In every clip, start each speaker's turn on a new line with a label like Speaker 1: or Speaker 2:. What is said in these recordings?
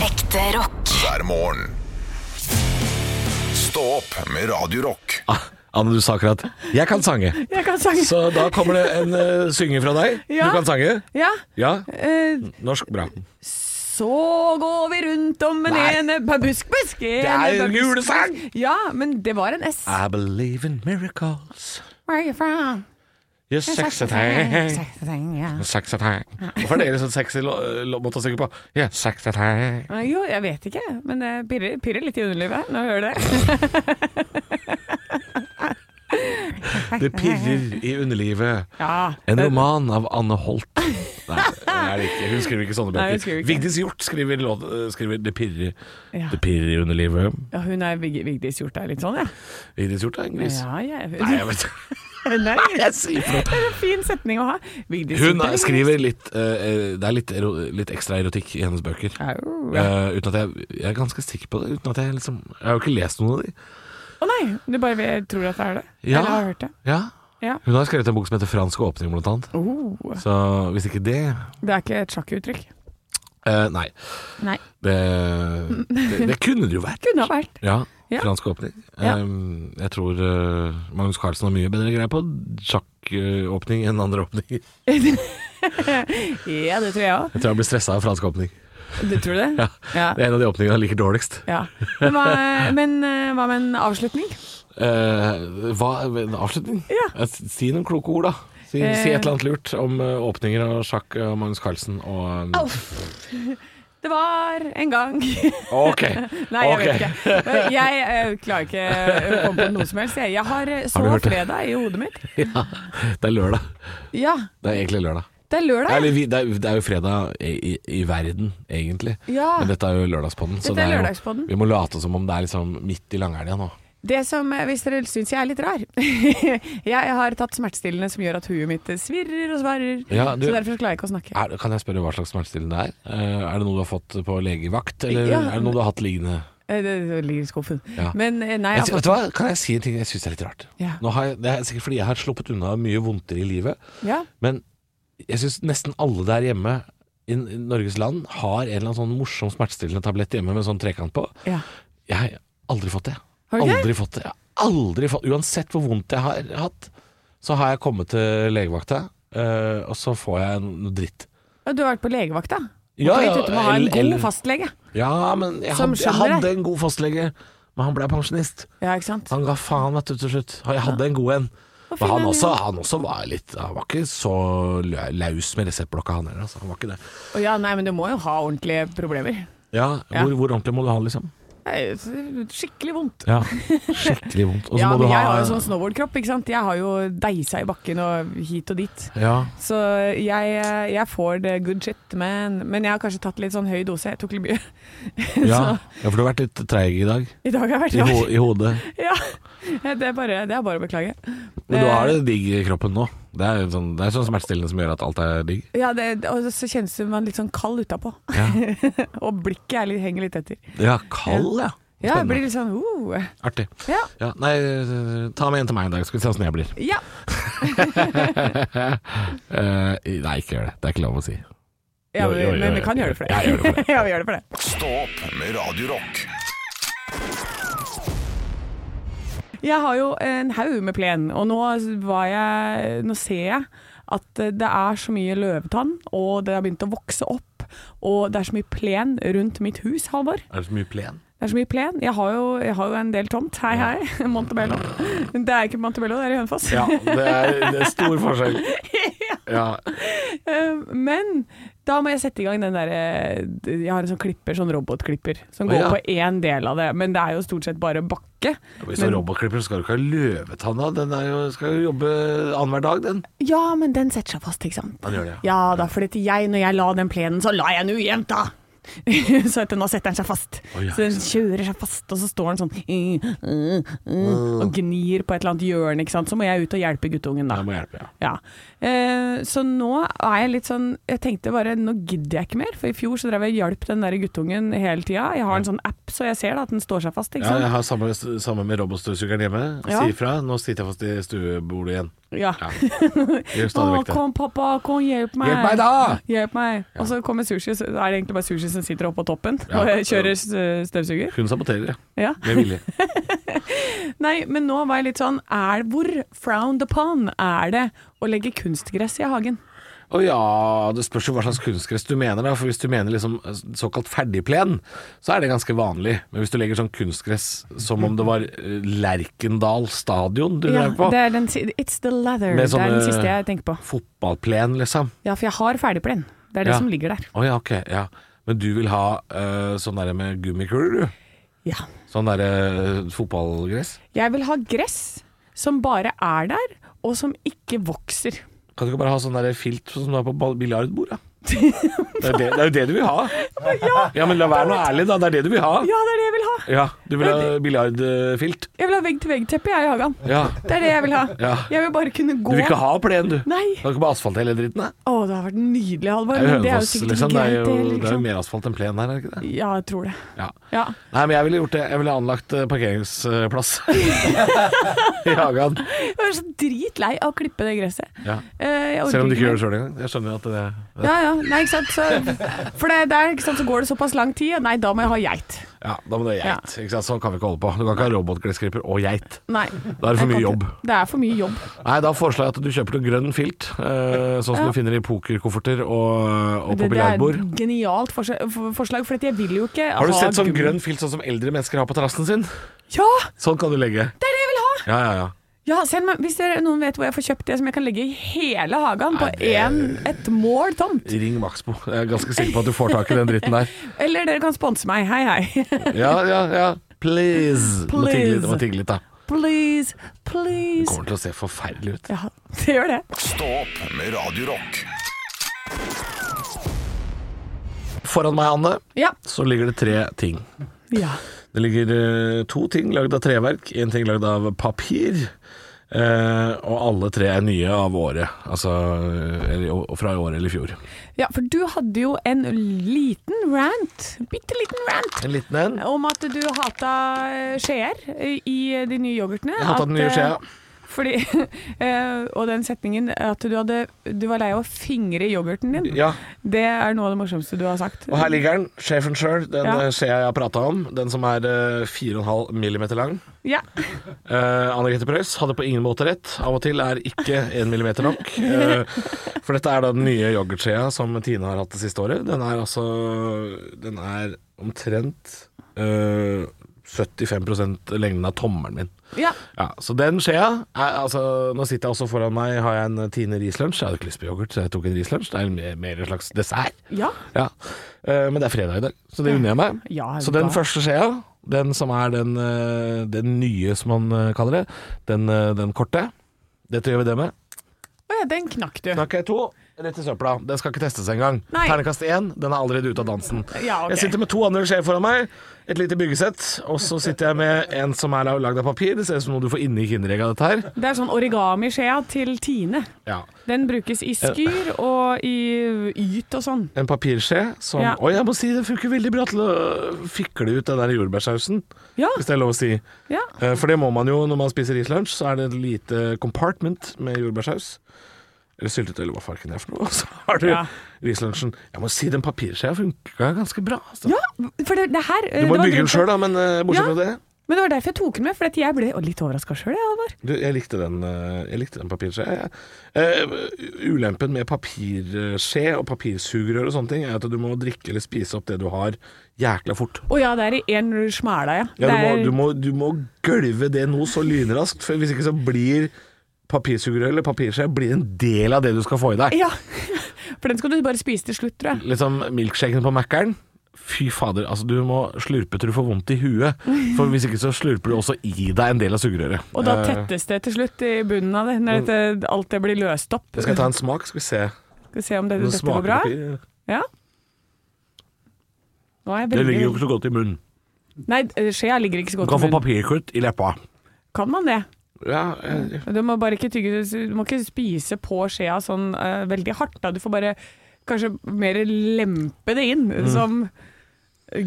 Speaker 1: Ekte rock.
Speaker 2: hver morgen. Stå opp med Radio Rock.
Speaker 3: Ah, Anne, du sa akkurat 'jeg kan sange'.
Speaker 4: Jeg kan sange.
Speaker 3: Så da kommer det en uh, synger fra deg.
Speaker 4: Ja.
Speaker 3: Du kan sange.
Speaker 4: Ja.
Speaker 3: Ja.
Speaker 4: Eh,
Speaker 3: Norsk bra.
Speaker 4: så går vi rundt om en
Speaker 3: Nei.
Speaker 4: ene pa- busk, busk ene,
Speaker 3: er Ah. en
Speaker 4: pa- busk,
Speaker 3: julesang!
Speaker 4: busk. Ja, men det var en S.
Speaker 3: I believe in miracles.
Speaker 4: Where are you from?
Speaker 3: You're sexy thing.
Speaker 4: Sexy thing, ja.
Speaker 3: Sexy thing. Hvorfor er dere sånn sexy lå- lå- måte å synge på? Yeah, sexy thing.
Speaker 4: Eh, Jo, jeg vet ikke, men det pirrer, pirrer litt i underlivet når jeg hører det.
Speaker 3: Det pirrer i underlivet.
Speaker 4: Ja, Eh,
Speaker 3: En
Speaker 4: det-
Speaker 3: roman av Anne Holt. Nei, det er det ikke. hun skriver ikke sånne
Speaker 4: Nei, hun
Speaker 3: bøker.
Speaker 4: skriver ikke.
Speaker 3: Vigdis Hjorth skriver, låt- eh, skriver 'Det pirrer'.
Speaker 4: Ja.
Speaker 3: Det pirrer i underlivet.
Speaker 4: Ja, hun er Vig- Vigdis Hjorth er litt sånn, ja.
Speaker 3: Vigdis Hjorth er en gris.
Speaker 4: Ja, jeg, hun,
Speaker 3: Nei, jeg vet
Speaker 4: Nei,
Speaker 3: Jeg sier for noe.
Speaker 4: det er en fin setning å ha. Vigdis
Speaker 3: Hun
Speaker 4: Hjorth er-
Speaker 3: skriver litt eh, Det er litt, ero, litt ekstra erotikk i hennes bøker.
Speaker 4: Au.
Speaker 3: Eh, uten at jeg, jeg er ganske sikker på det. Uten at Jeg liksom Jeg har jo ikke lest noen av de.
Speaker 4: Å nei, du bare vet- tror at det er det?
Speaker 3: Ja.
Speaker 4: Eller har hørt det?
Speaker 3: Ja.
Speaker 4: Ja.
Speaker 3: Hun har skrevet en bok som heter 'Fransk åpning', blant annet.
Speaker 4: Oh,
Speaker 3: Så hvis ikke det
Speaker 4: det er ikke et sjakkuttrykk?
Speaker 3: eh, Nei.
Speaker 4: Nei.
Speaker 3: Det, det, det kunne det jo vært.
Speaker 4: Kunne ha vært.
Speaker 3: Ja.
Speaker 4: Ja.
Speaker 3: Fransk åpning.
Speaker 4: Ja.
Speaker 3: Eh, jeg tror eh, Magnus Carlsen har mye bedre greie på sjakkåpning enn andre åpninger.
Speaker 4: Ja, det tror jeg òg.
Speaker 3: Jeg tror han blir stressa av fransk åpning.
Speaker 4: Du tror det?
Speaker 3: Ja.
Speaker 4: Ja.
Speaker 3: Det er en av de åpningene han liker dårligst.
Speaker 4: ja. Men, hva, men eh, hva med en avslutning?
Speaker 3: Eh, hva, en avslutning?
Speaker 4: Ja.
Speaker 3: Eh, Si noen kloke ord, da. Si,
Speaker 4: Eh.
Speaker 3: si et eller annet lurt om eh, åpninger av sjakk og Magnus Carlsen og eh,
Speaker 4: Det var en gang
Speaker 3: Ok!
Speaker 4: Nei, jeg
Speaker 3: ok.
Speaker 4: vet ikke. Jeg eh, klarer ikke å komme på noe som helst. jeg. Jeg har eh, så
Speaker 3: Har du hørt det?
Speaker 4: fredag i hodet mitt.
Speaker 3: Ja, det er lørdag.
Speaker 4: Ja,
Speaker 3: Det er egentlig lørdag.
Speaker 4: det er lørdag.
Speaker 3: Eller vi, det, er, det er jo fredag i, i, i verden, egentlig.
Speaker 4: Ja.
Speaker 3: Men dette er jo lørdagspodden. så
Speaker 4: Ah. Dette er
Speaker 3: det jo-
Speaker 4: lørdagspodden.
Speaker 3: Vi må late som om det er liksom midt i langhelga nå.
Speaker 4: Det som, eh, Hvis dere syns jeg er litt rar Jeg har tatt smertestillende som gjør at huet mitt eh, svirrer og svarrer.
Speaker 3: Ja, du-
Speaker 4: Så derfor klarer jeg ikke å snakke.
Speaker 3: Er, kan jeg spørre hva slags smertestillende det er? Eh, er det noe du har fått på legevakt, eller
Speaker 4: Ja.
Speaker 3: er det noe du har hatt liggende?
Speaker 4: Eh, Det det ligger i skuffen.
Speaker 3: Ja.
Speaker 4: Men eh, nei,
Speaker 3: Jeg,
Speaker 4: jeg
Speaker 3: sy-
Speaker 4: har
Speaker 3: vet du hva, Kan jeg si en ting jeg syns er litt rart?
Speaker 4: Ja.
Speaker 3: Nå har jeg, det er sikkert fordi jeg har sluppet unna mye vondtere i livet,
Speaker 4: fått ja.
Speaker 3: men jeg syns nesten alle der hjemme i N- Norges land har en eller annen sånn morsom smertestillende tablett hjemme med sånn trekant på.
Speaker 4: Ja.
Speaker 3: Jeg har aldri fått det.
Speaker 4: Har du ikke?
Speaker 3: aldri fått det. Jeg har aldri fått Uansett hvor vondt jeg har hatt, så har jeg kommet til legevakta, eh, og så får jeg noe dritt.
Speaker 4: Ja, Du har vært på legevakt, da?
Speaker 3: Ja,
Speaker 4: Måtte
Speaker 3: ja,
Speaker 4: litt ut med å ha en
Speaker 3: eller-
Speaker 4: god
Speaker 3: eller-
Speaker 4: fastlege.
Speaker 3: Ja, men jeg,
Speaker 4: Som
Speaker 3: hadde, jeg
Speaker 4: skjønner
Speaker 3: hadde en god fastlege, men han ble pensjonist.
Speaker 4: Ja, ikke sant?
Speaker 3: Han ga faen, vet du, til slutt. Og Jeg hadde en god en. Men
Speaker 4: fin
Speaker 3: han
Speaker 4: en,
Speaker 3: også,
Speaker 4: ja.
Speaker 3: han også var litt Han var ikke så lø- laus med reseptblokka, han heller. Altså. Han var ikke det.
Speaker 4: Å ja, nei, men du må jo ha ordentlige problemer.
Speaker 3: Ja,
Speaker 4: Ja.
Speaker 3: Hvor, hvor ordentlig må du ha, liksom?
Speaker 4: Nei, så- Skikkelig vondt.
Speaker 3: Ja, Skikkelig vondt. Og så
Speaker 4: Ja,
Speaker 3: må
Speaker 4: men
Speaker 3: du ha
Speaker 4: jeg har jo sånn snowboardkropp, ikke sant. Jeg har jo deisa i bakken og hit og dit.
Speaker 3: ja.
Speaker 4: Så jeg, jeg får det good shit, men, men jeg har kanskje tatt litt sånn høy dose. Jeg tok litt mye
Speaker 3: Ja. ja, for du har vært litt treig i dag.
Speaker 4: i dag, har jeg
Speaker 3: I,
Speaker 4: vært
Speaker 3: ho
Speaker 4: rar.
Speaker 3: I hodet.
Speaker 4: Ja, det er bare, det er bare å beklage.
Speaker 3: Men du har det digg i kroppen nå. Det er jo sånn, det er sånn smertestillende som gjør at alt er digg.
Speaker 4: Eh, Ja, det, og så kjennes det man litt sånn kald utapå.
Speaker 3: Ja,
Speaker 4: Og blikket er litt, henger litt etter.
Speaker 3: ja kald, ja.
Speaker 4: Ja, jeg
Speaker 3: Spennende.
Speaker 4: blir litt sånn uh.
Speaker 3: Artig.
Speaker 4: Ja.
Speaker 3: Ja, nei, ta med en til meg en dag, skal vi se åssen jeg blir.
Speaker 4: ja.
Speaker 3: Eh, nei, ikke gjør det. Det er ikke lov å si.
Speaker 4: Ja,
Speaker 3: Jo,
Speaker 4: men,
Speaker 3: jo, jo,
Speaker 4: men
Speaker 3: jo,
Speaker 4: vi kan
Speaker 3: jo.
Speaker 4: gjøre det for
Speaker 3: Ja, gjør det for
Speaker 4: det.
Speaker 3: det.
Speaker 4: ja, vi gjør det for det.
Speaker 2: Stå opp med Radio Rock
Speaker 4: Jeg har jo en haug med plen, og nå, var jeg, nå ser jeg at det er så mye løvetann, og det har begynt å vokse opp. Og det er så mye plen rundt mitt hus, Halvor.
Speaker 3: Er det så mye plen?
Speaker 4: Det er så mye plen. Jeg har jo, jeg har jo en del tomt. Hei, hei. Montebello. Det er ikke Montebello, det er i Hønefoss.
Speaker 3: Ja, det er, det er stor forskjell. Ja.
Speaker 4: Eh, Men da må jeg sette i gang den derre Jeg har en sånn klipper, sånn robotklipper, som
Speaker 3: Å,
Speaker 4: går
Speaker 3: ja.
Speaker 4: på én del av det. Men det er jo stort sett bare bakke.
Speaker 3: Hvis du er
Speaker 4: Men-
Speaker 3: robotklipper, så skal du ikke ha løvetanna. Den er jo, skal jo jobbe annenhver dag, den.
Speaker 4: Ja, men den setter seg fast, ikke sant?
Speaker 3: Den gjør det, ja.
Speaker 4: Ja da, for jeg, når jeg la den plenen, så la jeg den ujevnt, da! så at nå setter den seg fast.
Speaker 3: Å, ja,
Speaker 4: så den kjører seg fast, og så står den sånn mm, mm,
Speaker 3: Ah.
Speaker 4: mm, og gnir på et eller annet hjørne, ikke sant. Så må jeg ut og hjelpe guttungen, da.
Speaker 3: Jeg må hjelpe, ja.
Speaker 4: Ja. Eh, så nå er jeg litt sånn Jeg tenkte bare nå gidder jeg ikke mer, for i fjor så drev jeg og hjalp den der guttungen hele tida. Jeg har en sånn app, så jeg ser da at den står seg fast, ikke
Speaker 3: ja
Speaker 4: sant.
Speaker 3: jeg har samme, samme med robotstøvsugeren hjemme.
Speaker 4: Ja.
Speaker 3: Si ifra. Nå sitter jeg fast i stuebordet igjen.
Speaker 4: Ja.
Speaker 3: Gjør
Speaker 4: Å,
Speaker 3: stadig vekk det.
Speaker 4: kom pappa, kom hjelp meg.
Speaker 3: Hjelp meg da!
Speaker 4: Hjelp meg. Og så kommer sushi, så er det egentlig bare sushi som sitter oppå toppen
Speaker 3: Ja.
Speaker 4: og kjører s- støvsuger.
Speaker 3: Hun saboterer, ja.
Speaker 4: Ja.
Speaker 3: Med vilje.
Speaker 4: Nei, men nå var jeg litt sånn er, Hvor frowned upon er det å legge kunstgress i hagen?
Speaker 3: Å ja, det spørs jo hva slags kunstgress du mener, da. For hvis du mener liksom såkalt ferdigplen, så er det ganske vanlig. Men hvis du legger sånn kunstgress som om det var eh, Lerkendal stadion du drev på,
Speaker 4: det er den, si- it's the leather.
Speaker 3: Med
Speaker 4: det er
Speaker 3: sånne-
Speaker 4: den siste jeg tenker på.
Speaker 3: fotballplen, liksom.
Speaker 4: Ja, for jeg har ferdigplen. Det er det
Speaker 3: Ja.
Speaker 4: som ligger der.
Speaker 3: Å ja, ok. Ja. Men du vil ha eh, sånn derre med gummikuler, du?
Speaker 4: Ja.
Speaker 3: Sånn derre eh, fotballgress?
Speaker 4: Jeg vil ha gress som bare er der, og som ikke vokser.
Speaker 3: Kan du ikke bare ha sånn derre filt som du har på ball- biljardbord, da? Det er, det, det er jo det du vil ha. Ja, men la være noe ærlig, da. Det er det du vil ha.
Speaker 4: Ja, det er det jeg vil ha!
Speaker 3: Ja, du vil ha biljardfilt.
Speaker 4: Jeg vil ha vegg-til-vegg-teppe jeg i hagen.
Speaker 3: Ja.
Speaker 4: Det er det jeg vil ha.
Speaker 3: ja.
Speaker 4: Jeg vil bare kunne
Speaker 3: Du
Speaker 4: gå
Speaker 3: vil ikke ha plen, du?
Speaker 4: Nei.
Speaker 3: Du kan ikke bare asfalte hele dritten, da?
Speaker 4: Å, det har vært nydelig, Halvor.
Speaker 3: Det er jo
Speaker 4: Men det er jo
Speaker 3: Hønefoss,
Speaker 4: sikkert
Speaker 3: liksom. Det er
Speaker 4: greit, det.
Speaker 3: jo, det
Speaker 4: heller,
Speaker 3: er jo
Speaker 4: Liksom.
Speaker 3: mer asfalt enn plen her, er det ikke det?
Speaker 4: Ja, jeg tror det.
Speaker 3: Ja.
Speaker 4: Ja.
Speaker 3: Nei, men jeg ville gjort det. Jeg ville anlagt eh, parkeringsplass i hagen.
Speaker 4: Jeg er så dritlei av å klippe det gresset.
Speaker 3: Ja.
Speaker 4: Eh, jeg orker
Speaker 3: Selv om du ikke
Speaker 4: mer.
Speaker 3: gjør det sjøl engang. Jeg skjønner at det
Speaker 4: Ja, ja. Nei, ikke sant. Så, for det der ikke sant, så går det såpass lang tid. Nei, da må jeg ha geit.
Speaker 3: Ja, da må det være geit. Ikke sant? Sånn kan vi ikke holde på. Du kan ikke ha robotgressklipper og geit.
Speaker 4: Nei.
Speaker 3: Da er det for
Speaker 4: jeg
Speaker 3: mye
Speaker 4: kan
Speaker 3: jobb.
Speaker 4: ikke. Det er for mye jobb.
Speaker 3: Nei, da foreslår jeg at du kjøper noe grønn filt, eh, sånn som
Speaker 4: Ja.
Speaker 3: du finner i pokerkofferter og, eh, og på
Speaker 4: Det, det er
Speaker 3: biljardbord.
Speaker 4: et genialt forslag, for- forslag, for jeg vil jo ikke
Speaker 3: Har du sett sånn
Speaker 4: gummi.
Speaker 3: grønn filt sånn som eldre mennesker har på terrassen sin?
Speaker 4: Ja!
Speaker 3: Sånn kan du legge.
Speaker 4: Det er det jeg vil ha!
Speaker 3: Ja, ja, ja.
Speaker 4: Ja, send meg, Hvis dere, noen vet hvor jeg får kjøpt det som jeg kan legge i hele hagen på
Speaker 3: det-
Speaker 4: en- et mål tomt,
Speaker 3: Ring Maxbo. Jeg er ganske sikker på at du får tak i den dritten der.
Speaker 4: eller dere kan sponse meg. Hei, hei.
Speaker 3: Ja, ja, ja. Please. Du må tigge litt, du må
Speaker 4: Please.
Speaker 3: tigge litt da.
Speaker 4: Please,
Speaker 3: Det
Speaker 4: please.
Speaker 3: kommer til å se forferdelig ut.
Speaker 4: Ja, det gjør det.
Speaker 2: Stå opp med Radio Rock.
Speaker 3: Foran meg, Anne,
Speaker 4: Ja.
Speaker 3: så ligger det tre ting.
Speaker 4: ja.
Speaker 3: Det ligger eh, to ting lagd av treverk, én ting lagd av papir. eh, og alle tre er nye av året, altså eh, eller, og- fra i år eller i fjor.
Speaker 4: Ja, for du hadde jo en liten rant, bitte liten rant,
Speaker 3: En liten en.
Speaker 4: om at du hata eh, skjeer eh, i de nye yoghurtene.
Speaker 3: Jeg har tatt den nye
Speaker 4: At, eh,
Speaker 3: skjea.
Speaker 4: Fordi, eh, og den setningen at du, hadde, du var lei av å fingre i yoghurten din,
Speaker 3: Ja,
Speaker 4: det er noe av det morsomste du har sagt.
Speaker 3: og her ligger den. Sjefen sjøl, den
Speaker 4: Ja.
Speaker 3: eh, skjea jeg har prata om. Den som er eh, 4,5 millimeter lang.
Speaker 4: Ja.
Speaker 3: Eh, Anne Grete Preus hadde på ingen måte rett. Av og til er ikke én millimeter nok. Eh, for dette er da den nye yoghurtskjea som Tine har hatt det siste året. Den er altså Den er omtrent eh, 75 lengden av tommelen min.
Speaker 4: ja.
Speaker 3: Ja, Så den skjea er, altså, Nå sitter jeg også foran meg, har jeg en eh, Tine Riis-lunsj. Jeg hadde ikke lyst på yoghurt, så jeg tok en Riis-lunsj. Det er mer- mer en slags dessert.
Speaker 4: Ja.
Speaker 3: Ja. Eh, men det er fredag i dag, så det unner jeg meg.
Speaker 4: Ja,
Speaker 3: så den
Speaker 4: da.
Speaker 3: første skjea, den som er den, eh, den nye, som man eh, kaller det, den, eh, den korte, dette gjør vi det med.
Speaker 4: Å ja, den knakk du.
Speaker 3: Knakk jeg to, rett i søpla. Den skal ikke testes engang.
Speaker 4: Nei.
Speaker 3: Ternekast én, den er allerede ute av dansen.
Speaker 4: Ja, ok.
Speaker 3: Jeg sitter med to andre skjeer foran meg, et lite byggesett, og så sitter jeg med en som er lagd av papir. Det ser ut som noe du får inni kinderegget av dette her.
Speaker 4: Det er sånn origami-skjea til Tine.
Speaker 3: Ja.
Speaker 4: Den brukes i skyr og i yt og sånn.
Speaker 3: En papirskje som
Speaker 4: Ja.
Speaker 3: Oi, jeg må si det funker veldig bra til å fikle ut den der jordbærsausen,
Speaker 4: Ja,
Speaker 3: hvis det er lov å si.
Speaker 4: ja.
Speaker 3: Eh, For det må man jo når man spiser rislunsj, så er det et lite compartment med jordbærsaus. Eller syltetøy, eller hva farken det er for noe. Og så har du
Speaker 4: Ja.
Speaker 3: rislunsjen. Jeg må si den papirskjea funka ganske bra. Altså.
Speaker 4: Ja, for det, det her
Speaker 3: du må bygge den sjøl, da, men eh, bortsett fra
Speaker 4: Ja.
Speaker 3: det
Speaker 4: Men det var derfor jeg tok den med, for at jeg ble å, litt overraska sjøl, jeg, Halvor.
Speaker 3: du, jeg likte den, eh, jeg likte den papirskjea. jeg. Eh, ulempen med papirskje og papirsugerør og sånne ting, er at du må drikke eller spise opp det du har, jækla fort.
Speaker 4: Å ja, det er i én smæla, ja.
Speaker 3: Ja,
Speaker 4: Det
Speaker 3: du, må, du,
Speaker 4: er-
Speaker 3: må, du må gølve det nå så lynraskt, for hvis ikke så blir papirsugerør eller papirskje blir en del av det du skal få i deg.
Speaker 4: ja. For den skal du bare spise til slutt, tror jeg.
Speaker 3: Liksom milkshaken på Mækkern. Fy fader, altså du må slurpe til du får vondt i huet. For hvis ikke så slurper du også i deg en del av sugerøret.
Speaker 4: Og da
Speaker 3: Eh,
Speaker 4: tettes det til slutt i bunnen av det, når dette, alt det blir løst opp.
Speaker 3: jeg skal ta en smak, skal vi se.
Speaker 4: Skal vi se om dette,
Speaker 3: Den
Speaker 4: dette går
Speaker 3: smaker
Speaker 4: bra?
Speaker 3: papir.
Speaker 4: Ja. Nå er jeg
Speaker 3: Det ligger jo
Speaker 4: veldig
Speaker 3: ikke så godt i munnen.
Speaker 4: Nei, eh, skjea ligger ikke så
Speaker 3: Du kan
Speaker 4: godt i
Speaker 3: få
Speaker 4: munnen.
Speaker 3: papirklutt i leppa.
Speaker 4: Kan man det?
Speaker 3: Ja, eh,
Speaker 4: Du må bare ikke tygge Du må ikke spise på skjea sånn eh, veldig hardt, da. Du får bare kanskje mer lempe det inn, som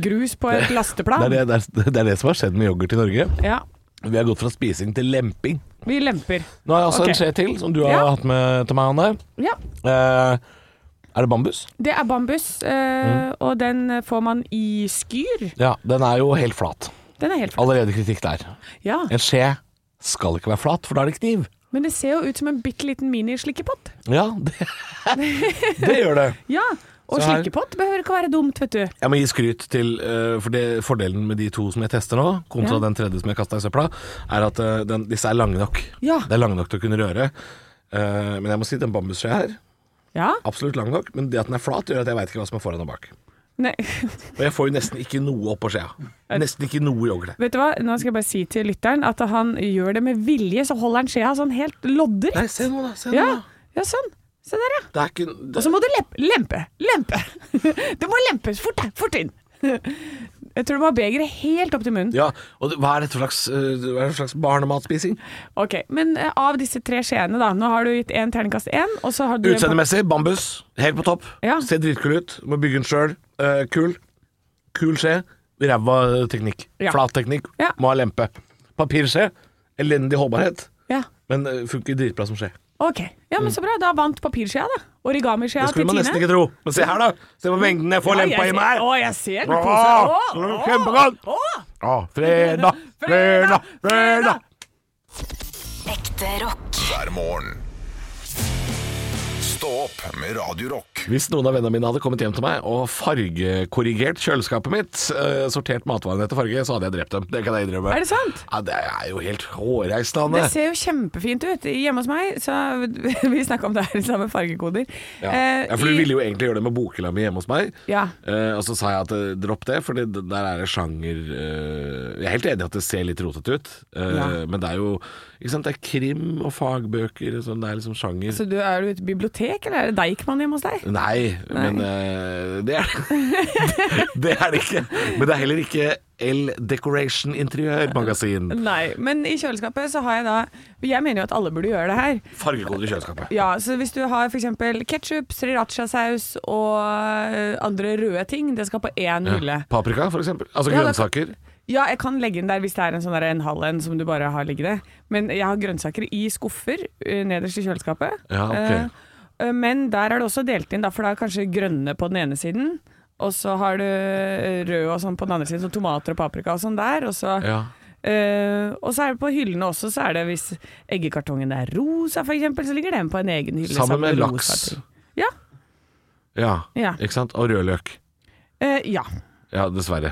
Speaker 4: grus på et
Speaker 3: Mm. det,
Speaker 4: lasteplan.
Speaker 3: er det, det, er, det er det som har skjedd med yoghurt i Norge.
Speaker 4: Ja.
Speaker 3: Vi har gått fra spising til lemping.
Speaker 4: Vi lemper.
Speaker 3: Nå har jeg også
Speaker 4: Ok.
Speaker 3: en skje til, som du har
Speaker 4: Ja.
Speaker 3: hatt med til meg, Anne.
Speaker 4: Ja.
Speaker 3: Eh, er det bambus?
Speaker 4: Det er bambus, eh,
Speaker 3: Mm.
Speaker 4: og den får man i skyr.
Speaker 3: Ja, den er jo helt flat.
Speaker 4: Den er helt flat.
Speaker 3: Allerede kritikk der.
Speaker 4: Ja,
Speaker 3: En skje skal ikke være flat, for da er det kniv.
Speaker 4: men det ser jo ut som en bitte liten minislikkepott.
Speaker 3: Ja, det, det gjør det.
Speaker 4: Ja, og
Speaker 3: Så her-
Speaker 4: slikkepott behøver ikke være dumt, vet du.
Speaker 3: Jeg må gi skryt til eh, for det, Fordelen med de to som jeg tester nå, kontra
Speaker 4: Ja.
Speaker 3: den tredje som jeg kasta i søpla, er at eh, den, disse er lange nok.
Speaker 4: Ja.
Speaker 3: Det er lange nok til å kunne røre. Eh, men jeg må si den bambusskjea her,
Speaker 4: Ja,
Speaker 3: absolutt lang nok, men det at den er flat, gjør at jeg veit ikke hva som er foran og bak.
Speaker 4: Nei.
Speaker 3: Og jeg får jo nesten ikke noe oppå skjea. Nesten ikke noe yoghurt.
Speaker 4: Vet du hva, nå skal jeg bare si til lytteren at han gjør det med vilje, så holder han skjea sånn helt lodder.
Speaker 3: Nei, se nå, da. Se nå,
Speaker 4: Ja,
Speaker 3: da.
Speaker 4: ja sånn. Se der, ja.
Speaker 3: Det er ikke det,
Speaker 4: Og så må du lempe, lempe, lempe. Det må lempes fort, da, fort inn. Jeg tror du må ha begeret helt opp til munnen.
Speaker 3: Ja, og det, hva er dette for slags, eh, hva er det for slags barnematspising?
Speaker 4: Ok, Men eh, av disse tre skjeene, da. Nå har du gitt én terningkast én, og så har du en på-
Speaker 3: Utseendemessig, bambus. Helt på topp.
Speaker 4: Ja.
Speaker 3: Ser dritkul ut. Må bygge den sjøl. Eh, kul. Kul skje. Ræva teknikk.
Speaker 4: Ja.
Speaker 3: Flat teknikk.
Speaker 4: Ja.
Speaker 3: Må ha lempe. Papirskje. Elendig holdbarhet.
Speaker 4: Ja.
Speaker 3: Men eh, funker dritbra som skje.
Speaker 4: Ok, ja, men så bra. Da vant papirskjea, da. Origamiskjea
Speaker 3: Det
Speaker 4: til
Speaker 3: Mm. skulle man
Speaker 4: Tine.
Speaker 3: nesten ikke tro. Men se her, da. Se på mengden jeg får
Speaker 4: Ja,
Speaker 3: lempa
Speaker 4: jeg
Speaker 3: i
Speaker 4: ser-
Speaker 3: meg.
Speaker 4: Å, jeg ser den.
Speaker 3: Åh,
Speaker 4: Å,
Speaker 3: det er
Speaker 4: å,
Speaker 3: kjempegodt.
Speaker 4: å.
Speaker 3: Å, fredag, fredag, fredag.
Speaker 1: Ekte rock.
Speaker 2: hver morgen. Stå opp med Radio Rock.
Speaker 3: Hvis noen av vennene mine hadde kommet hjem til meg og fargekorrigert kjøleskapet mitt, eh, sortert matvarene etter farge, så hadde jeg drept dem. Det kan jeg innrømme.
Speaker 4: Er det sant?
Speaker 3: Ja, det er jo helt hårreisende. Anne.
Speaker 4: Det ser jo kjempefint ut. Hjemme hos meg, så vi snakka om det her i samme fargekoder.
Speaker 3: Ja.
Speaker 4: Eh,
Speaker 3: ja, for du
Speaker 4: i-
Speaker 3: ville jo egentlig gjøre det med bokhylla mi hjemme hos meg.
Speaker 4: Ja.
Speaker 3: Eh, og så sa jeg at eh, dropp det, for det, der er det sjanger eh, Jeg er helt enig i at det ser litt rotete ut, eh,
Speaker 4: Ja.
Speaker 3: men det er jo ikke sant, det er krim og fagbøker og sånn, det er liksom sjanger.
Speaker 4: Så du, er du et bibliotek, eller er det Deichman hjemme hos deg?
Speaker 3: Nei, men eh, det, er, det er det ikke. Men det er heller ikke L Decoration Interiør-magasin.
Speaker 4: Nei, men i kjøleskapet så har jeg da Jeg mener jo at alle burde gjøre det her.
Speaker 3: Fargekoder i kjøleskapet.
Speaker 4: Ja, så hvis du har f.eks. ketsjup, srirachasaus og eh, andre røde ting, det skal på én hylle.
Speaker 3: Paprika, for eksempel. Altså
Speaker 4: Ja, det-
Speaker 3: grønnsaker.
Speaker 4: Ja, jeg kan legge den der hvis det er en sånn der en halv en som du bare har liggende. Men jeg har grønnsaker i skuffer eh, nederst i kjøleskapet.
Speaker 3: Ja, ok.
Speaker 4: Eh, eh, Men der er det også delt inn, da, for da er kanskje grønne på den ene siden. Og så har du eh, rød og sånn på den andre siden, så tomater og paprika og sånn der. Og så,
Speaker 3: Ja.
Speaker 4: eh, og så er det på hyllene også, så er det hvis eggekartongen er rosa for eksempel, så ligger den på en egen hylle.
Speaker 3: Sammen med
Speaker 4: rosa
Speaker 3: laks.
Speaker 4: ting. Ja.
Speaker 3: Ja,
Speaker 4: Ja.
Speaker 3: ikke sant? Og rødløk.
Speaker 4: Eh, ja.
Speaker 3: Ja, dessverre.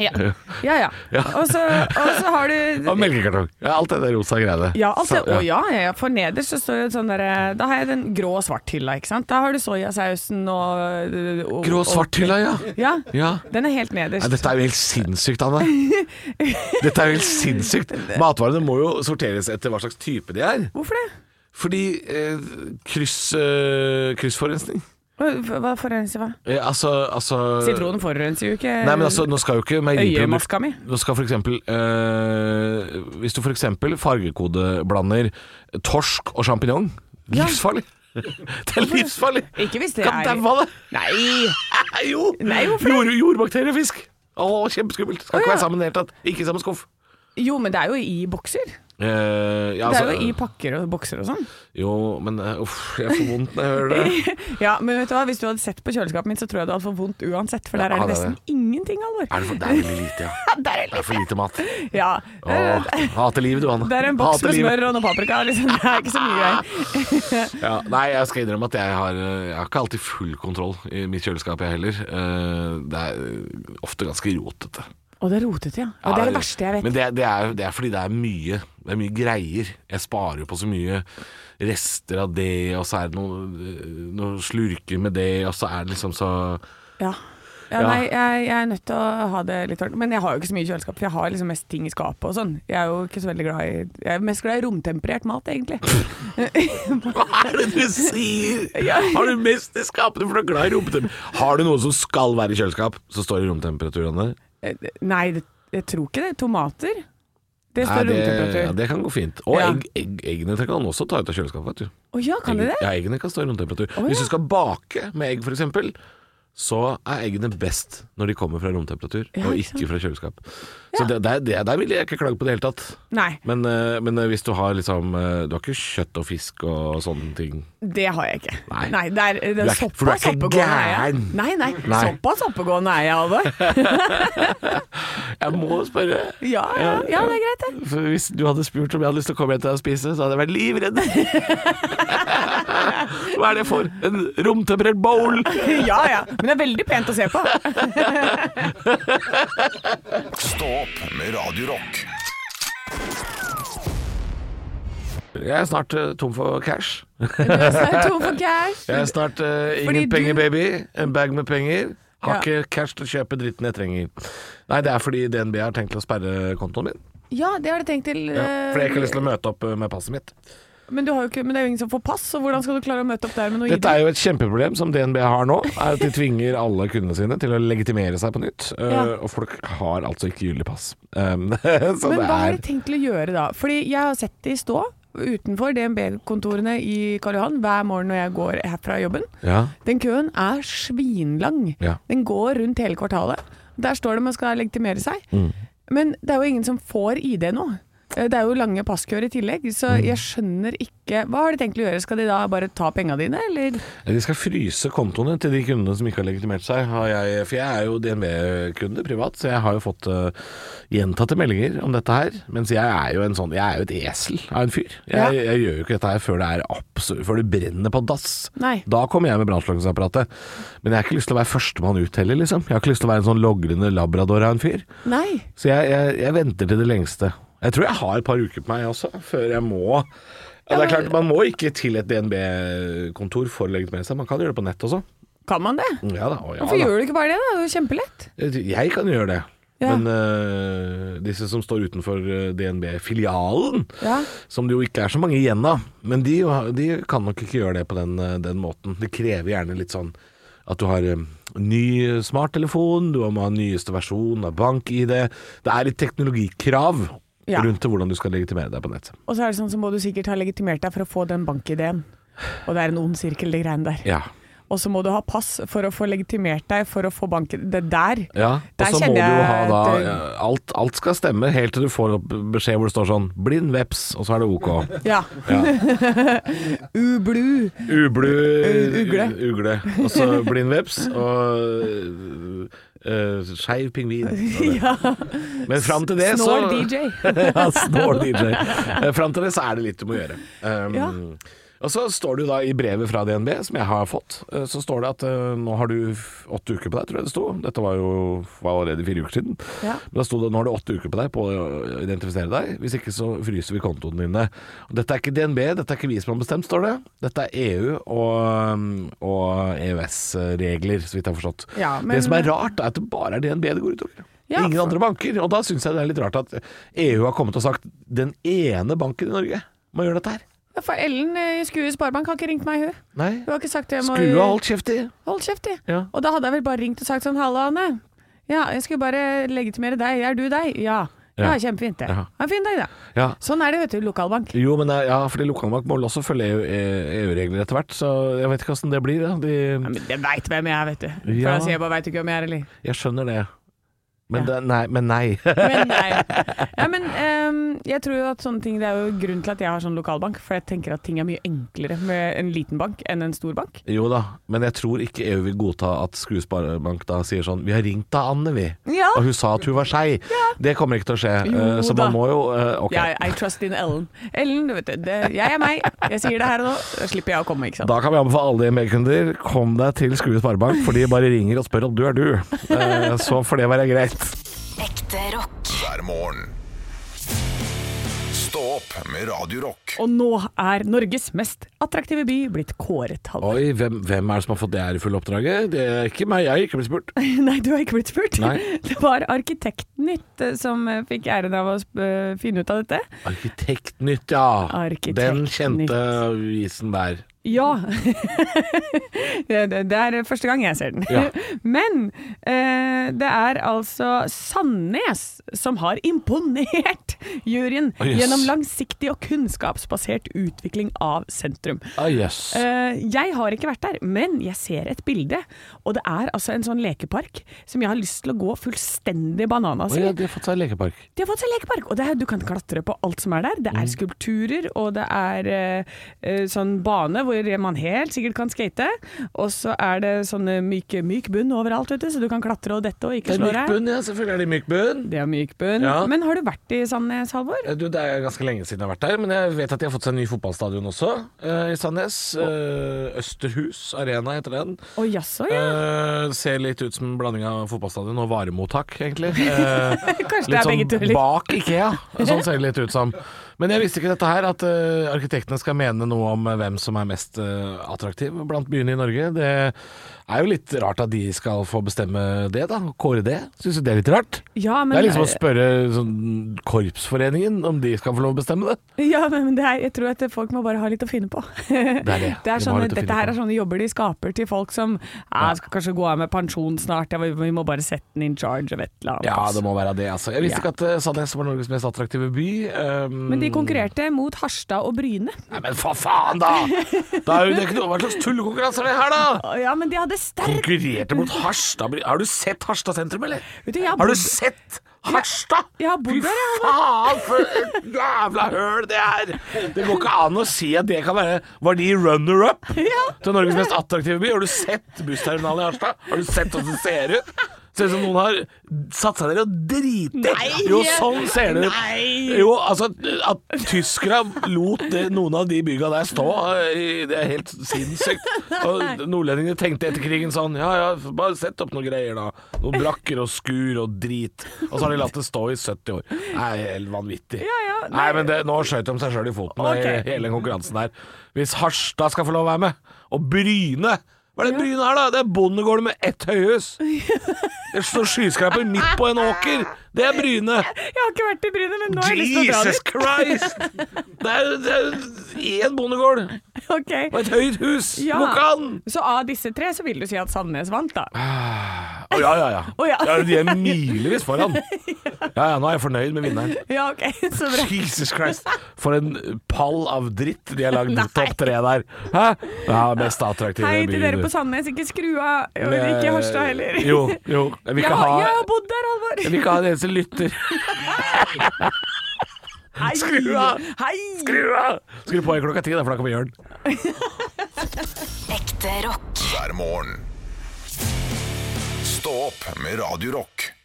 Speaker 4: Ja, ja. ja.
Speaker 3: Ja.
Speaker 4: Og, så, og så har du
Speaker 3: Og melkekartong. Ja, alt det der rosa greiene.
Speaker 4: Ja, altså,
Speaker 3: Så- ja.
Speaker 4: og ja, ja, ja, for nederst så står det sånn der Da har jeg den grå og svart hylla, ikke sant? Da har du soyasausen og, og
Speaker 3: Grå
Speaker 4: og-
Speaker 3: svarthylla, ja.
Speaker 4: Ja.
Speaker 3: ja.
Speaker 4: Den er helt
Speaker 3: Nei,
Speaker 4: nederst.
Speaker 3: dette er jo helt sinnssykt, Anne. Dette er jo helt sinnssykt. Matvarene må jo sorteres etter hva slags type de er.
Speaker 4: Hvorfor det?
Speaker 3: Fordi eh, kryss, eh, kryssforurensning
Speaker 4: Hva hva forurenser hva?
Speaker 3: eh, Altså, altså
Speaker 4: Sitronen forurenser jo ikke
Speaker 3: Nei, men altså, nå skal jo ikke meieriprodukter
Speaker 4: øyemaska mi.
Speaker 3: Nå skal for eksempel eh, Hvis du for eksempel fargekodeblander torsk og champignon
Speaker 4: Ja.
Speaker 3: Livsfarlig! Det er livsfarlig!
Speaker 4: Ikke hvis det
Speaker 3: Kan
Speaker 4: er
Speaker 3: daue av det!
Speaker 4: Nei!
Speaker 3: Nei, Jo!
Speaker 4: Nei, hvorfor det?
Speaker 3: Jord, jordbakteriefisk! Å, kjempeskummelt! Skal
Speaker 4: Å,
Speaker 3: ikke
Speaker 4: ja.
Speaker 3: være sammen i det hele tatt. Ikke i samme skuff.
Speaker 4: Jo, men det er jo i bokser.
Speaker 3: Eh, ja,
Speaker 4: Det er
Speaker 3: altså-
Speaker 4: jo i pakker og bokser og sånn.
Speaker 3: Jo, men eh, uff, jeg får vondt når jeg hører det.
Speaker 4: Ja, men vet du hva, hvis du hadde sett på kjøleskapet mitt, så tror jeg du hadde fått vondt uansett, for der er
Speaker 3: Ja,
Speaker 4: det
Speaker 3: det er
Speaker 4: nesten ingenting alvor.
Speaker 3: Er det, for, det er veldig lite, ja.
Speaker 4: Der er
Speaker 3: Det er for lite mat.
Speaker 4: Ja. Eh,
Speaker 3: Åh, hater livet du, Anne.
Speaker 4: Det er en boks
Speaker 3: Hater
Speaker 4: med
Speaker 3: livet.
Speaker 4: smør og noe paprika. Liksom. Det er ikke så mye greier.
Speaker 3: Ja, nei, jeg skal innrømme at jeg har, eh, jeg har ikke alltid full kontroll i mitt kjøleskap, jeg heller. Eh, Det er eh, ofte ganske rotete.
Speaker 4: Og det er rotete, ja. Og det er det verste jeg vet.
Speaker 3: Men det, det, er, det er fordi det er mye Det er mye greier. Jeg sparer jo på så mye rester av det, og så er det noe, eh, noe slurker med det, og så er det liksom så
Speaker 4: Ja. Ja, nei, jeg, jeg er nødt til å ha det litt ordentlig. Men jeg har jo ikke så mye kjøleskap, for jeg har liksom mest ting i skapet og sånn. Jeg er jo ikke så veldig glad i Jeg er mest glad i romtemperert mat, egentlig.
Speaker 3: Hva er det du sier?! Har du mest i skapene for du er glad i romtemperatur? Har du noe som skal være i kjøleskap, så står det romtemperatur, Anne?
Speaker 4: Eh, Nei, det, jeg tror ikke det. Tomater. Det
Speaker 3: Nei, det,
Speaker 4: står
Speaker 3: ja,
Speaker 4: romtemperatur.
Speaker 3: det kan gå fint. Og
Speaker 4: Ja.
Speaker 3: egg, egg, eggene kan man også ta ut av kjøleskapet. Vet du.
Speaker 4: Å ja, kan de det?
Speaker 3: Ja, eggene kan stå i romtemperatur.
Speaker 4: ja.
Speaker 3: Hvis du skal bake med egg, f.eks., så er eggene best når de kommer fra romtemperatur,
Speaker 4: Ja,
Speaker 3: og
Speaker 4: ikke sant.
Speaker 3: ikke fra kjøleskap. Så det, der, det, der vil jeg ikke klage på det hele tatt.
Speaker 4: Nei,
Speaker 3: Men, eh, men eh, hvis du har liksom eh, Du har ikke kjøtt og fisk og sånne ting.
Speaker 4: det har jeg ikke.
Speaker 3: Nei.
Speaker 4: det er, det
Speaker 3: Du er
Speaker 4: er
Speaker 3: ikke- for du er
Speaker 4: såpass
Speaker 3: ikke
Speaker 4: oppegående er jeg.
Speaker 3: gæren.
Speaker 4: Nei, nei,
Speaker 3: Nei.
Speaker 4: såpass oppegående er jeg, Halvor.
Speaker 3: Jeg må spørre.
Speaker 4: Ja, ja, ja, det er greit, det.
Speaker 3: For hvis du hadde spurt om jeg hadde lyst til å komme hjem til deg og spise, så hadde jeg vært livredd. Hva er det for? En romtemperert bowl?
Speaker 4: Ja ja, men det er veldig pent å se på.
Speaker 2: Stå opp med Radio Rock.
Speaker 3: Jeg er snart eh, tom for cash.
Speaker 4: Så er jeg tom for cash.
Speaker 3: Jeg er snart eh,
Speaker 4: Fordi
Speaker 3: ingen
Speaker 4: du-
Speaker 3: penger, baby. En bag med penger. Har
Speaker 4: Ja.
Speaker 3: ikke cash til å kjøpe dritten jeg trenger. Nei, det er fordi DNB har tenkt til å sperre kontoen min.
Speaker 4: Ja, det har du tenkt til.
Speaker 3: Ja, fordi jeg ikke har
Speaker 4: eh,
Speaker 3: lyst til å møte opp eh, med passet mitt.
Speaker 4: Men, du har jo ikke, men det er jo ingen som får pass, så hvordan skal du klare å møte opp der med noe ID?
Speaker 3: Dette er jo et kjempeproblem som DNB har nå. Er at de tvinger alle kundene sine til å legitimere seg på nytt. Eh,
Speaker 4: Ja.
Speaker 3: Og folk har altså ikke gyldig pass. Um, så det
Speaker 4: Men hva har
Speaker 3: er
Speaker 4: de tenkt til å gjøre da? Fordi jeg har sett de stå utenfor DNB-kontorene i Karl Johan hver morgen når jeg går herfra jobben.
Speaker 3: ja.
Speaker 4: Den køen er svinlang.
Speaker 3: Ja.
Speaker 4: Den går rundt hele kvartalet. Der står det man skal legitimere seg.
Speaker 3: Mm.
Speaker 4: Men det er jo ingen som får ID nå. Eh, Det er jo lange passkøer i tillegg, så
Speaker 3: Mm.
Speaker 4: jeg skjønner ikke Hva har de tenkt til å gjøre? Skal de da bare ta penga dine, eller?
Speaker 3: De skal fryse kontoene til de kundene som ikke har legitimert seg. Har jeg, for jeg er jo DNB-kunde privat, så jeg har jo fått eh, gjentatte meldinger om dette her. Mens jeg er jo en sånn Jeg er jo et esel av en fyr. Jeg,
Speaker 4: Ja.
Speaker 3: jeg gjør jo ikke dette her før det er absolutt Før det brenner på dass.
Speaker 4: Nei.
Speaker 3: Da kommer jeg med brannslukningsapparatet. Men jeg har ikke lyst til å være førstemann ut heller, liksom. Jeg har ikke lyst til å være en sånn logrende labrador av en fyr.
Speaker 4: Nei.
Speaker 3: Så jeg, jeg, jeg venter til det lengste. Jeg tror jeg har et par uker på meg også, før jeg må ja, det er klart, Man må ikke til et DNB-kontor for å legitimere seg, man kan gjøre det på nett også.
Speaker 4: Kan man det?
Speaker 3: Ja da, og ja
Speaker 4: Hvorfor
Speaker 3: da.
Speaker 4: gjør du ikke bare det? da? Det er jo kjempelett.
Speaker 3: Jeg kan gjøre det.
Speaker 4: Ja.
Speaker 3: Men øh, disse som står utenfor øh, DNB-filialen,
Speaker 4: Ja.
Speaker 3: som det jo ikke er så mange igjen av, men de, de kan nok ikke gjøre det på den, øh, den måten. Det krever gjerne litt sånn at du har øh, ny smarttelefon, du må ha nyeste versjon av bank-ID. Det er litt teknologikrav
Speaker 4: Ja.
Speaker 3: rundt til hvordan du skal legitimere deg på nett.
Speaker 4: Og så er det sånn så må du sikkert ha legitimert deg for å få den bankideen. Og det er en ond sirkel, de greiene der.
Speaker 3: Ja.
Speaker 4: Og så må du ha pass for å få legitimert deg for å få bank... Det der.
Speaker 3: Ja, og
Speaker 4: Der
Speaker 3: så må
Speaker 4: kjenner
Speaker 3: du jo
Speaker 4: jeg
Speaker 3: ha da
Speaker 4: at, eh,
Speaker 3: ja, alt, alt skal stemme helt til du får opp beskjed hvor det står sånn 'blind veps', og så er det ok.
Speaker 4: Ja. Ublu.
Speaker 3: Ublu
Speaker 4: U- ugle.
Speaker 3: ugle. Og så blind veps og uh, skeiv pingvin.
Speaker 4: Ja.
Speaker 3: Men fram til det så
Speaker 4: Snål DJ.
Speaker 3: ja, snål DJ. Eh, Fram til det så er det litt du må gjøre. Um,
Speaker 4: Ja.
Speaker 3: Og så står det jo da i brevet fra DNB, som jeg har fått, eh, så står det at eh, nå har du f- åtte uker på deg, tror jeg det sto. Dette var jo var allerede fire uker siden.
Speaker 4: Ja.
Speaker 3: Men da sto det nå har du åtte uker på deg på å identifisere deg, hvis ikke så fryser vi kontoene dine. Og dette er ikke DNB, dette er ikke vi som har bestemt, står det. Dette er EU og, um, og E EØS-regler, så vidt jeg har forstått.
Speaker 4: Ja, men-
Speaker 3: det som er rart, er at det bare er DNB det går utover.
Speaker 4: Ja,
Speaker 3: Ingen
Speaker 4: for-
Speaker 3: andre banker. Og da syns jeg det er litt rart at EU har kommet og sagt den ene banken i Norge må gjøre dette her.
Speaker 4: Ja, For Ellen eh, i Skue Sparebank har ikke ringt meg, hun.
Speaker 3: Nei.
Speaker 4: Hun har ikke sagt det. jeg må-
Speaker 3: Skulle ha holdt kjeft i.
Speaker 4: Hold kjeft, de.
Speaker 3: Ja.
Speaker 4: Og da hadde jeg vel bare ringt og sagt sånn Halla, Anne. Ja, jeg skulle bare legitimere deg. Er du deg? Ja. Ja,
Speaker 3: Ja.
Speaker 4: kjempefint det.
Speaker 3: Ja.
Speaker 4: Ha en fin dag, da.
Speaker 3: Ja.
Speaker 4: Sånn er det, vet du. Lokalbank.
Speaker 3: Jo, men eh, ja, fordi lokalbank må vel også følge E EU- EU-regler etter hvert, så jeg vet ikke åssen det blir. Ja. De,
Speaker 4: Ja, men jeg veit hvem jeg er, vet du. For
Speaker 3: Ja.
Speaker 4: da sier jeg bare veit ikke hvem jeg er, eller.
Speaker 3: Jeg skjønner det. Men,
Speaker 4: Ja.
Speaker 3: det, nei, men nei.
Speaker 4: Men nei. Ja, men ehm, jeg tror jo at sånne ting Det er jo grunnen til at jeg har sånn lokalbank. For jeg tenker at ting er mye enklere med en liten bank enn en stor bank.
Speaker 3: Jo da, men jeg tror ikke EU vil godta at Skru Sparebank da sier sånn Vi har ringt da Anne, vi.
Speaker 4: Ja.
Speaker 3: Og hun sa at hun var skei. Det kommer ikke til å skje.
Speaker 4: Jo
Speaker 3: eh, så
Speaker 4: da.
Speaker 3: man må jo eh, Ok.
Speaker 4: Jeg, I trust in Ellen. Ellen, du vet det, det. Jeg er meg. Jeg sier det her og nå. Da slipper jeg å komme, ikke sant.
Speaker 3: Da kan vi anbefale alle DNB-kunder kom deg til Skru Sparebank, for de bare ringer og spør om du er du. Eh, så får det være greit.
Speaker 1: Ekte rock.
Speaker 2: hver morgen. Stå opp med Radio Rock.
Speaker 4: Og nå er Norges mest attraktive by blitt kåret. Halvor.
Speaker 3: Oi, hvem, hvem er det som har fått det ærefulle oppdraget? Det er ikke meg, jeg har ikke blitt spurt.
Speaker 4: Nei, du har ikke blitt spurt.
Speaker 3: Nei.
Speaker 4: Det var Arkitektnytt eh, som eh, fikk æren av å eh, finne ut av dette.
Speaker 3: Arkitektnytt, ja.
Speaker 4: Arkitektnytt.
Speaker 3: Den kjente avisen der.
Speaker 4: Ja. det, det, det er første gang jeg ser den.
Speaker 3: Ja.
Speaker 4: Men eh, det er altså Sandnes som har imponert juryen
Speaker 3: Å, jøss.
Speaker 4: gjennom langsiktig og kunnskapsbasert utvikling av sentrum.
Speaker 3: Ah, yes.
Speaker 4: Eh, jeg har ikke vært der, men jeg ser et bilde. Og det er altså en sånn lekepark som jeg har lyst til å gå fullstendig bananas
Speaker 3: Å
Speaker 4: i.
Speaker 3: ja, de har fått seg lekepark.
Speaker 4: De har fått seg lekepark, og det er, du kan klatre på alt som er der. Det
Speaker 3: Mm.
Speaker 4: er skulpturer, og det er eh, eh, sånn bane hvor man helt sikkert kan skate. Og så er det sånn myk, myk bunn overalt, vet du, så du kan klatre og dette og
Speaker 3: Det
Speaker 4: ikke
Speaker 3: er
Speaker 4: slå
Speaker 3: myk
Speaker 4: deg.
Speaker 3: bunn, ja. Selvfølgelig er det myk bunn.
Speaker 4: Det er myk bunn.
Speaker 3: Ja.
Speaker 4: Men har du vært i Sandnes, Halvor?
Speaker 3: Eh, Du, det er ganske lenge siden jeg har vært der, men jeg vet at de har fått seg en ny fotballstadion også, eh, i Sandnes. Eh, Østerhus Arena heter den.
Speaker 4: Å jaså, ja.
Speaker 3: Eh, ser litt ut som en blanding av fotballstadion og varemottak, egentlig. Eh,
Speaker 4: Kanskje det
Speaker 3: litt
Speaker 4: er
Speaker 3: sånn
Speaker 4: begge tuller.
Speaker 3: bak Ikea. Sånn ser det litt ut som. Men jeg visste ikke dette her, at eh, arkitektene skal mene noe om eh, hvem som er mest eh, attraktiv blant byene i Norge. Det er jo litt rart at de skal få bestemme det, da. Kåre det. Syns du det er litt rart?
Speaker 4: Ja, men,
Speaker 3: det er liksom å spørre sånn, korpsforeningen om de skal få lov å bestemme det.
Speaker 4: ja, men det er, jeg tror at folk må bare ha litt å finne på.
Speaker 3: Det er det. De
Speaker 4: Det er
Speaker 3: må ha
Speaker 4: sånne,
Speaker 3: litt å
Speaker 4: dette
Speaker 3: finne
Speaker 4: her
Speaker 3: på.
Speaker 4: er sånne jobber de skaper til folk som ja, skal kanskje gå av med pensjon snart, ja, vi- vi må bare sette den in charge av et eller annet.
Speaker 3: Ja, det må være det, altså. Jeg visste
Speaker 4: Ja.
Speaker 3: ikke at eh, Sandnes var Norges mest attraktive by. Um,
Speaker 4: Men de konkurrerte mot Harstad og Bryne.
Speaker 3: Nei, men for faen, da! da er jo det ikke noe, hva slags tullekonkurranse er det her, da?
Speaker 4: Ja, men de hadde sterk
Speaker 3: Konkurrerte mot Harstad. Har du sett Harstad sentrum, eller?
Speaker 4: Vet du, jeg har
Speaker 3: Har du
Speaker 4: bodd-
Speaker 3: sett Harstad?
Speaker 4: Jeg- jeg har bodd der, jeg,
Speaker 3: Fy faen, for et jævla høl det er! Det går ikke an å si at det kan være Var de runner-up
Speaker 4: Ja.
Speaker 3: til Norges mest attraktive by? Har du sett bussterminalen i Harstad? Har du sett hvordan det ser ut? Ser ut som noen har satt seg ned og driti.
Speaker 4: Nei.
Speaker 3: Jo, sånn ser det ut.
Speaker 4: Nei.
Speaker 3: Jo, altså At tyskere lot det, noen av de bygga der stå, eh, det er helt sinnssykt. Og nordlendingene tenkte etter krigen sånn Ja ja, bare sett opp noen greier, da. Noen brakker og skur og drit. Og så har de latt det stå i 70 år. Det er helt vanvittig.
Speaker 4: Ja, ja,
Speaker 3: nei. men det, nå skjøt de seg sjøl i foten,
Speaker 4: Ok.
Speaker 3: i hele den konkurransen der. Hvis Harstad skal få lov å være med, og Bryne hva er det Bryne her, da? Det er bondegården med ett høyhus. Det står skyskraper midt på en åker. Det er Bryne.
Speaker 4: Jeg har ikke vært i Bryne, men nå har jeg lyst til å dra
Speaker 3: Jesus
Speaker 4: dit.
Speaker 3: Christ! Det er jo- det er jo én bondegård
Speaker 4: Ok.
Speaker 3: og et høyt hus.
Speaker 4: Ja.
Speaker 3: Ja. Går ikke an!
Speaker 4: Så av disse tre så vil du si at Sandnes vant, da.
Speaker 3: Ah. Å, ja, ja, ja.
Speaker 4: Å, ja.
Speaker 3: Ja, De er milevis foran. Ja, ja, nå er jeg fornøyd med vinneren.
Speaker 4: Ja, ok, så bra.
Speaker 3: Jesus Christ. For en pall av dritt de har lagd
Speaker 4: Nei.
Speaker 3: topp tre der. Hæ? Ja, mest attraktive
Speaker 4: Hei til dere
Speaker 3: byen.
Speaker 4: på Sandnes, ikke skru av. Og ikke Harstad heller.
Speaker 3: Jo, jo. Jeg vil
Speaker 4: Jeg
Speaker 3: ikke
Speaker 4: har,
Speaker 3: ha
Speaker 4: jeg har bodd der, Halvor.
Speaker 3: jeg vil ikke ha en eneste lytter.
Speaker 4: Hei.
Speaker 3: Skru av.
Speaker 4: Hei.
Speaker 3: Skru av! Skru på i klokka ti, da, for da kommer Jørn.
Speaker 1: Ekte rock.
Speaker 2: hver morgen. Stå opp med Radio Rock.